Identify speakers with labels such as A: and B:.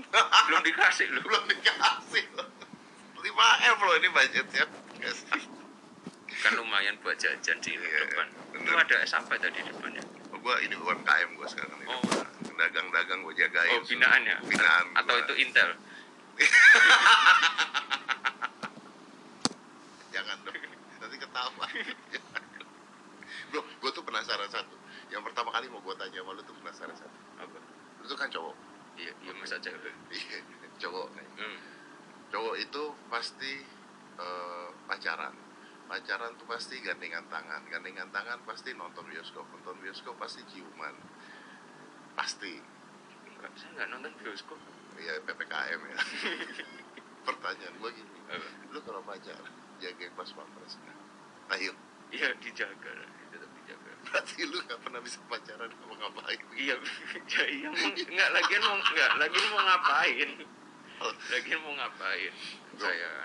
A: belum dikasih loh
B: belum dikasih loh 5 m loh ini budgetnya guys
A: kan lumayan buat jajan di
B: Iya,
A: depan
B: bener.
A: itu ada es apa tadi di depannya
B: oh, gue ini UMKM gue sekarang ini
A: Oh.
B: dagang-dagang gue jagain
A: oh binaan ya
B: binaan
A: atau
B: gua.
A: itu intel
B: jangan dong nanti ketawa bro gue tuh penasaran satu yang pertama kali mau gue tanya sama lu tuh penasaran satu
A: apa
B: lu tuh kan cowok
A: iya iya masa cewek
B: Iya, cowok
A: hmm.
B: cowok itu pasti eh, pacaran pacaran tuh pasti gandengan tangan gandengan tangan pasti nonton bioskop nonton bioskop pasti ciuman pasti
A: enggak saya enggak nonton bioskop
B: ya ppkm ya pertanyaan gue gini
A: Apa?
B: lu kalau pacaran jagain pas pampres nggak? ayo
A: iya dijaga lah tetap dijaga
B: Nah, berarti lu gak pernah bisa pacaran apa ngapain
A: iya ya, iya mau- Oh. enggak lagian mau enggak lagian mau ngapain lagian mau ngapain saya anak